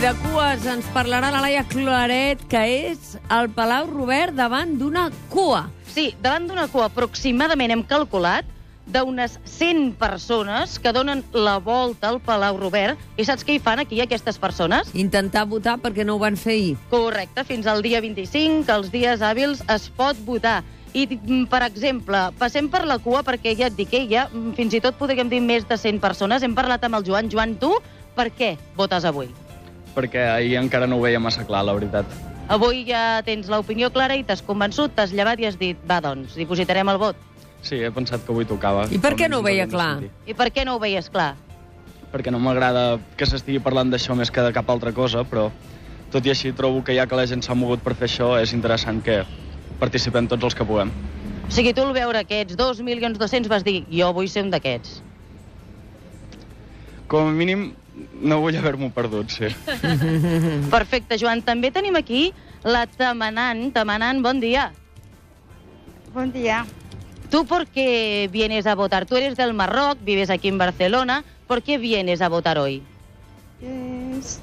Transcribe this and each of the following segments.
de cues ens parlarà la Laia Claret, que és al Palau Robert davant d'una cua. Sí, davant d'una cua aproximadament hem calculat d'unes 100 persones que donen la volta al Palau Robert. I saps què hi fan aquí, aquestes persones? Intentar votar perquè no ho van fer ahir. Correcte, fins al dia 25, que els dies hàbils es pot votar. I, mm, per exemple, passem per la cua perquè ja et dic, eh, ja mm, fins i tot podríem dir més de 100 persones. Hem parlat amb el Joan. Joan, tu per què votes avui? perquè ahir encara no ho veia massa clar, la veritat. Avui ja tens l'opinió clara i t'has convençut, t'has llevat i has dit, va, doncs, dipositarem el vot. Sí, he pensat que avui tocava. I per què no ho Com veia hem de clar? sentir. I per què no ho veies clar? Perquè no m'agrada que s'estigui parlant d'això més que de cap altra cosa, però tot i així trobo que ja que la gent s'ha mogut per fer això, és interessant que participem tots els que puguem. O sigui, tu al veure aquests 2.200.000 vas dir, jo vull ser un d'aquests. Com a mínim, no vull haver-m'ho perdut, sí. Perfecte, Joan. També tenim aquí la Tamanant. Tamanant, bon dia. Buen día. ¿Tú por qué vienes a votar? Tú eres del Marroc, vives aquí en Barcelona. ¿Por qué vienes a votar hoy? Es-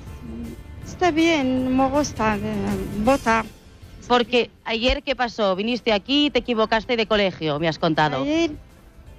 está bien, me gusta eh, votar. Porque ayer, ¿qué pasó? Viniste aquí y te equivocaste de colegio, me has contado. Ayer,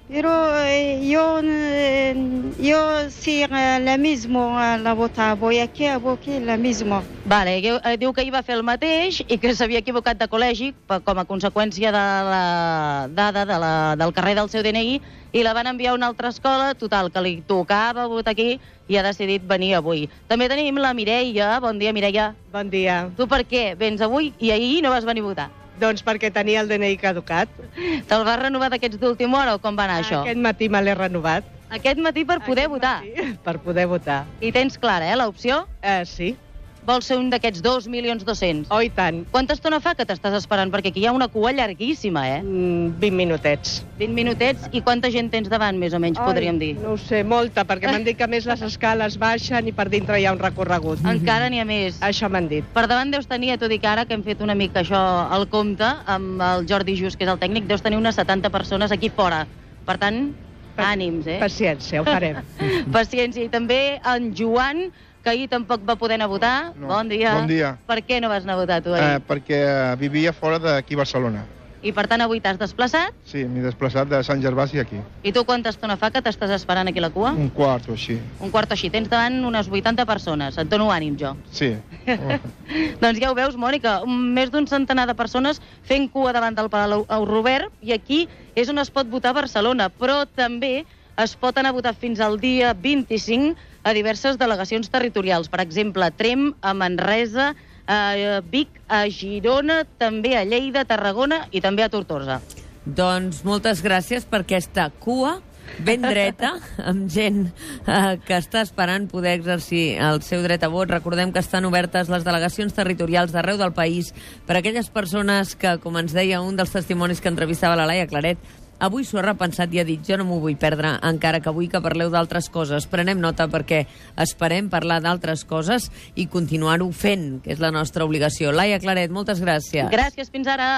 pero eh, yo, eh, yo sí, eh, la mismo eh, la vota. Voy aquí, a voy aquí, la mismo. Vale, que- eh, diu que hi va fer el mateix i que s'havia equivocat de col·legi per- com a conseqüència de la dada de la, del carrer del seu DNI i la van enviar a una altra escola, total, que li tocava votar aquí i ha decidit venir avui. També tenim la Mireia. Bon dia, Mireia. Bon dia. Tu per què vens avui i ahir no vas venir a votar? Doncs perquè tenia el DNI caducat. Te'l vas renovar d'aquests d'última hora o com va anar això? Ah, Aquest matí me l'he renovat. Aquest matí per poder Aquest votar. matí, Per poder votar. I tens clara, eh, l'opció? Eh, sí. Vols ser un d'aquests 2 milions 200. Oh, i tant. Quanta estona fa que t'estàs esperant? Perquè aquí hi ha una cua llarguíssima, eh? Mm, 20 minutets. 20 minutets i quanta gent tens davant, més o menys, podríem dir? No ho sé, molta, perquè m'han dit que a més les escales baixen i per dintre hi ha un recorregut. Mhm. Encara n'hi ha més. Això m'han dit. Per davant deus tenir, ja t'ho dic ara, que hem fet una mica això al compte amb el Jordi Just, que és el tècnic, deus tenir unes 70 persones aquí fora. Per tant, ànims, eh? Paciència, ho farem. Paciència. I també en Joan, que ahir tampoc va poder anar a votar. No. Bon dia. Bon dia. Per què no vas anar a votar tu Eh, ahir? perquè vivia fora d'aquí Barcelona. I per tant avui t'has desplaçat. Sí, m'he desplaçat de Sant Gervasi aquí. I tu quanta estona fa que t'estàs esperant aquí a la cua? Un quart o així. Un quart o així. Tens davant unes 80 persones. Et dono ànim, jo. Sí. Doncs ja ho veus, Mònica, un- més d'un centenar de persones fent cua davant del Palau Au Robert i aquí és on es pot votar a Barcelona, però també es pot anar a votar fins al dia 25 a diverses delegacions territorials, per exemple, a Trem, a Manresa, a eh, Vic, a Girona, també a Lleida, a Tarragona i també a Tortosa. Doncs moltes gràcies per aquesta cua ben dreta, amb gent eh, que està esperant poder exercir el seu dret a vot. Recordem que estan obertes les delegacions territorials d'arreu del país per a aquelles persones que, com ens deia un dels testimonis que entrevistava la Laia Claret, avui s'ho ha repensat i ha dit jo no m'ho vull perdre, encara que vull que parleu d'altres coses. Prenem nota perquè esperem parlar d'altres coses i continuar-ho fent, que és la nostra obligació. Laia Claret, moltes gràcies. Gràcies, fins ara!